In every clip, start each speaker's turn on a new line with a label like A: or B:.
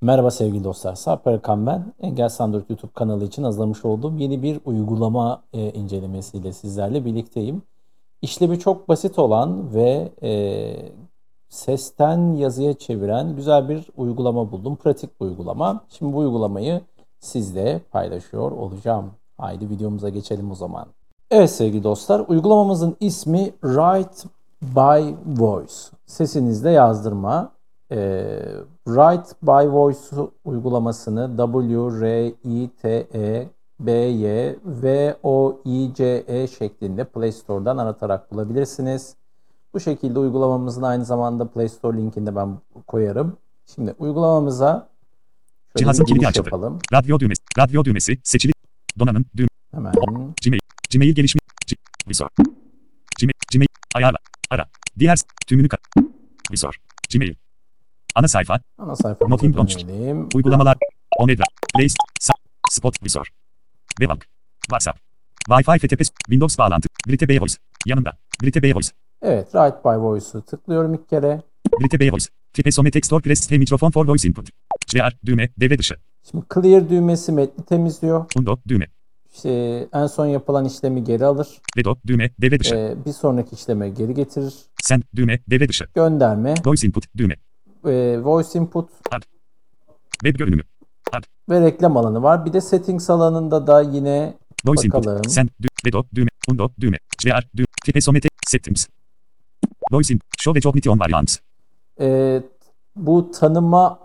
A: Merhaba sevgili dostlar. Sarperkan ben. Engel Sandork YouTube kanalı için hazırlamış olduğum yeni bir uygulama e, incelemesiyle sizlerle birlikteyim. İşlemi çok basit olan ve e, sesten yazıya çeviren güzel bir uygulama buldum. Pratik bir uygulama. Şimdi bu uygulamayı sizle paylaşıyor olacağım. Haydi videomuza geçelim o zaman. Evet sevgili dostlar, uygulamamızın ismi Write by Voice. Sesinizle yazdırma. E, Write by Voice uygulamasını W, R, I, T, E, B, Y, V, O, I, C, E şeklinde Play Store'dan aratarak bulabilirsiniz. Bu şekilde uygulamamızın aynı zamanda Play Store linkini de ben koyarım. Şimdi uygulamamıza şöyle
B: Cihazın
A: bir
B: kilidi
A: giriş
B: açıldı.
A: yapalım.
B: Radyo düğmesi. Radyo düğmesi seçili. Donanım düğüm.
A: Hemen
B: Gmail. Gmail gelişme. G- Visor. Gmail. Gmail. Ayarla. Ara. Diğer s- tümünü kat. Visor. Gmail. Ana sayfa.
A: ana sayfamıza
B: Nothing launched.
A: dönelim.
B: Uygulamalar. Onedra. List. Sa- Spot. Visor. Debug. WhatsApp. Wi-Fi FTP. Windows bağlantı. Brite Bey Voice. Yanında. Brite Bey Voice.
A: Evet, Write by Voice'u tıklıyorum ilk kere.
B: Brite Bey Voice. Fipe Text Store Press ve mikrofon for voice input. CR düğme devre dışı.
A: Şimdi clear düğmesi metni temizliyor.
B: Undo düğme.
A: İşte en son yapılan işlemi geri alır.
B: Redo düğme devre dışı.
A: Ee, bir sonraki işleme geri getirir.
B: Send düğme devre dışı.
A: Gönderme,
B: Voice input düğme.
A: ee, voice input
B: Web görünümü.
A: ve reklam alanı var. Bir de settings alanında da yine
B: Voice
A: Bakalım.
B: input. Send. Dü vedo. Düğme. Undo. Düğme. CR. Düğme. Tipe somete. Settings. Voice input. Show ve cognity on variants.
A: ee, bu tanıma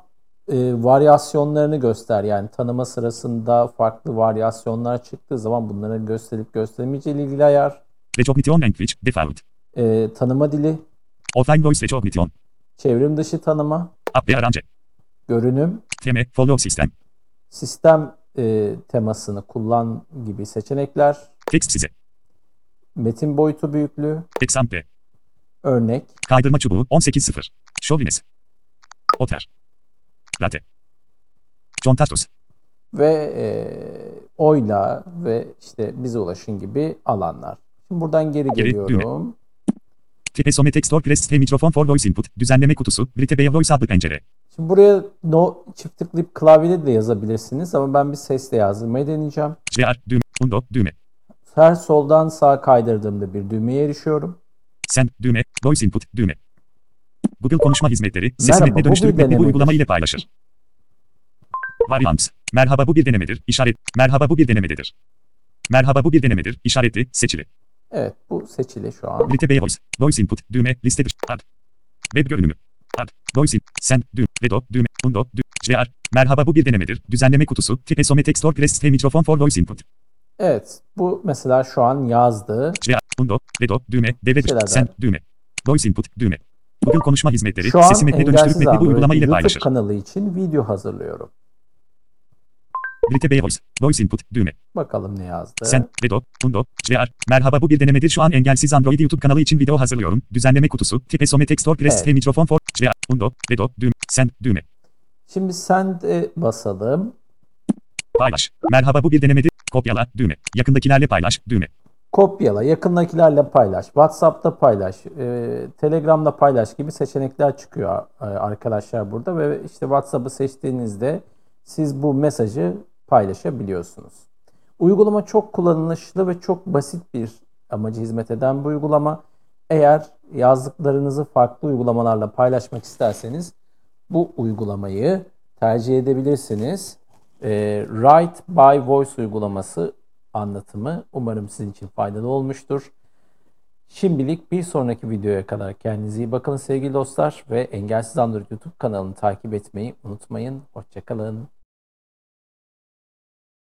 A: ee, varyasyonlarını göster. Yani tanıma sırasında farklı varyasyonlar çıktığı zaman bunların gösterip göstermeyeceğiyle ilgili ayar.
B: Ve cognity on language. Default.
A: Ee, tanıma dili,
B: Offline voice ve cognity on.
A: çevrim dışı tanıma,
B: App ve arrange.
A: görünüm,
B: Teme. Follow system.
A: sistem e, temasını kullan gibi seçenekler,
B: Text size.
A: metin boyutu büyüklüğü,
B: Example.
A: örnek,
B: Kaydırma çubuğu. 18.0. Chauvinist. Otter. Latte. John Tastos.
A: ve e, oyla ve işte bize ulaşın gibi alanlar. Şimdi buradan geri
B: Geri,
A: geliyorum.
B: Tipe somete. Store press ve mikrofon for voice input. Düzenleme kutusu. Brite Bey Voice adlı pencere.
A: Şimdi buraya no çift tıklayıp klavyede de yazabilirsiniz ama ben bir sesle yazdırmayı deneyeceğim.
B: CR. Düğme. Undo. Düğme.
A: Her soldan sağa kaydırdığımda bir düğmeye erişiyorum.
B: Sen düğme, voice input düğme. Google konuşma hizmetleri sesi
A: Merhaba,
B: metne
A: bu bir
B: dönüştürüp metni bu
A: denemedir.
B: uygulama ile paylaşır. Variants. Merhaba bu bir denemedir. İşaret. Merhaba bu bir denemedir. Merhaba bu bir denemedir. İşareti seçili.
A: Evet bu seçili şu an.
B: Brite Bey Voice. Voice input düğme. Liste dışı. Ad. Web görünümü. Ad. Voice in. Sen. Düğme. Redo. Düğme. Undo. Düğme. CR. Merhaba bu bir denemedir. Düzenleme kutusu. Tipe Sometex Press ve mikrofon for voice input.
A: Evet bu mesela şu an yazdı.
B: CR. Undo. Redo. Düğme. Devre dışı.
A: Şeyler
B: Sen.
A: var.
B: Düğme. Voice input düğme. Google konuşma hizmetleri
A: Şu an
B: sesi metne dönüştürüp
A: Engelsiz
B: metni bu uygulama
A: Android
B: ile
A: YouTube
B: paylaşır.
A: kanalı için video hazırlıyorum.
B: Brite Bey Voice. Voice input düğme.
A: Bakalım ne yazdı.
B: Sen, Vedo, Undo, CR. Merhaba bu bir denemedir. Şu an engelsiz Android YouTube kanalı için video hazırlıyorum. Düzenleme kutusu. Tipe Sometex Store Press
A: Evet.
B: ve mikrofon for CR. Undo, Vedo, düğme. Sen, düğme.
A: Şimdi send'e basalım.
B: Paylaş. Merhaba bu bir denemedir. Kopyala, düğme. Yakındakilerle paylaş, düğme.
A: Kopyala, yakındakilerle paylaş, WhatsApp'ta paylaş, e, Telegram'da paylaş gibi seçenekler çıkıyor e, arkadaşlar burada ve işte WhatsApp'ı seçtiğinizde siz bu mesajı paylaşabiliyorsunuz. Uygulama çok kullanışlı ve çok basit bir amacı hizmet eden bir uygulama. Eğer yazdıklarınızı farklı uygulamalarla paylaşmak isterseniz bu uygulamayı tercih edebilirsiniz. E, Write by Voice uygulaması anlatımı umarım sizin için faydalı olmuştur. Şimdilik bir sonraki videoya kadar kendinize iyi bakın sevgili dostlar ve Engelsiz Android YouTube kanalını takip etmeyi unutmayın. Hoşçakalın.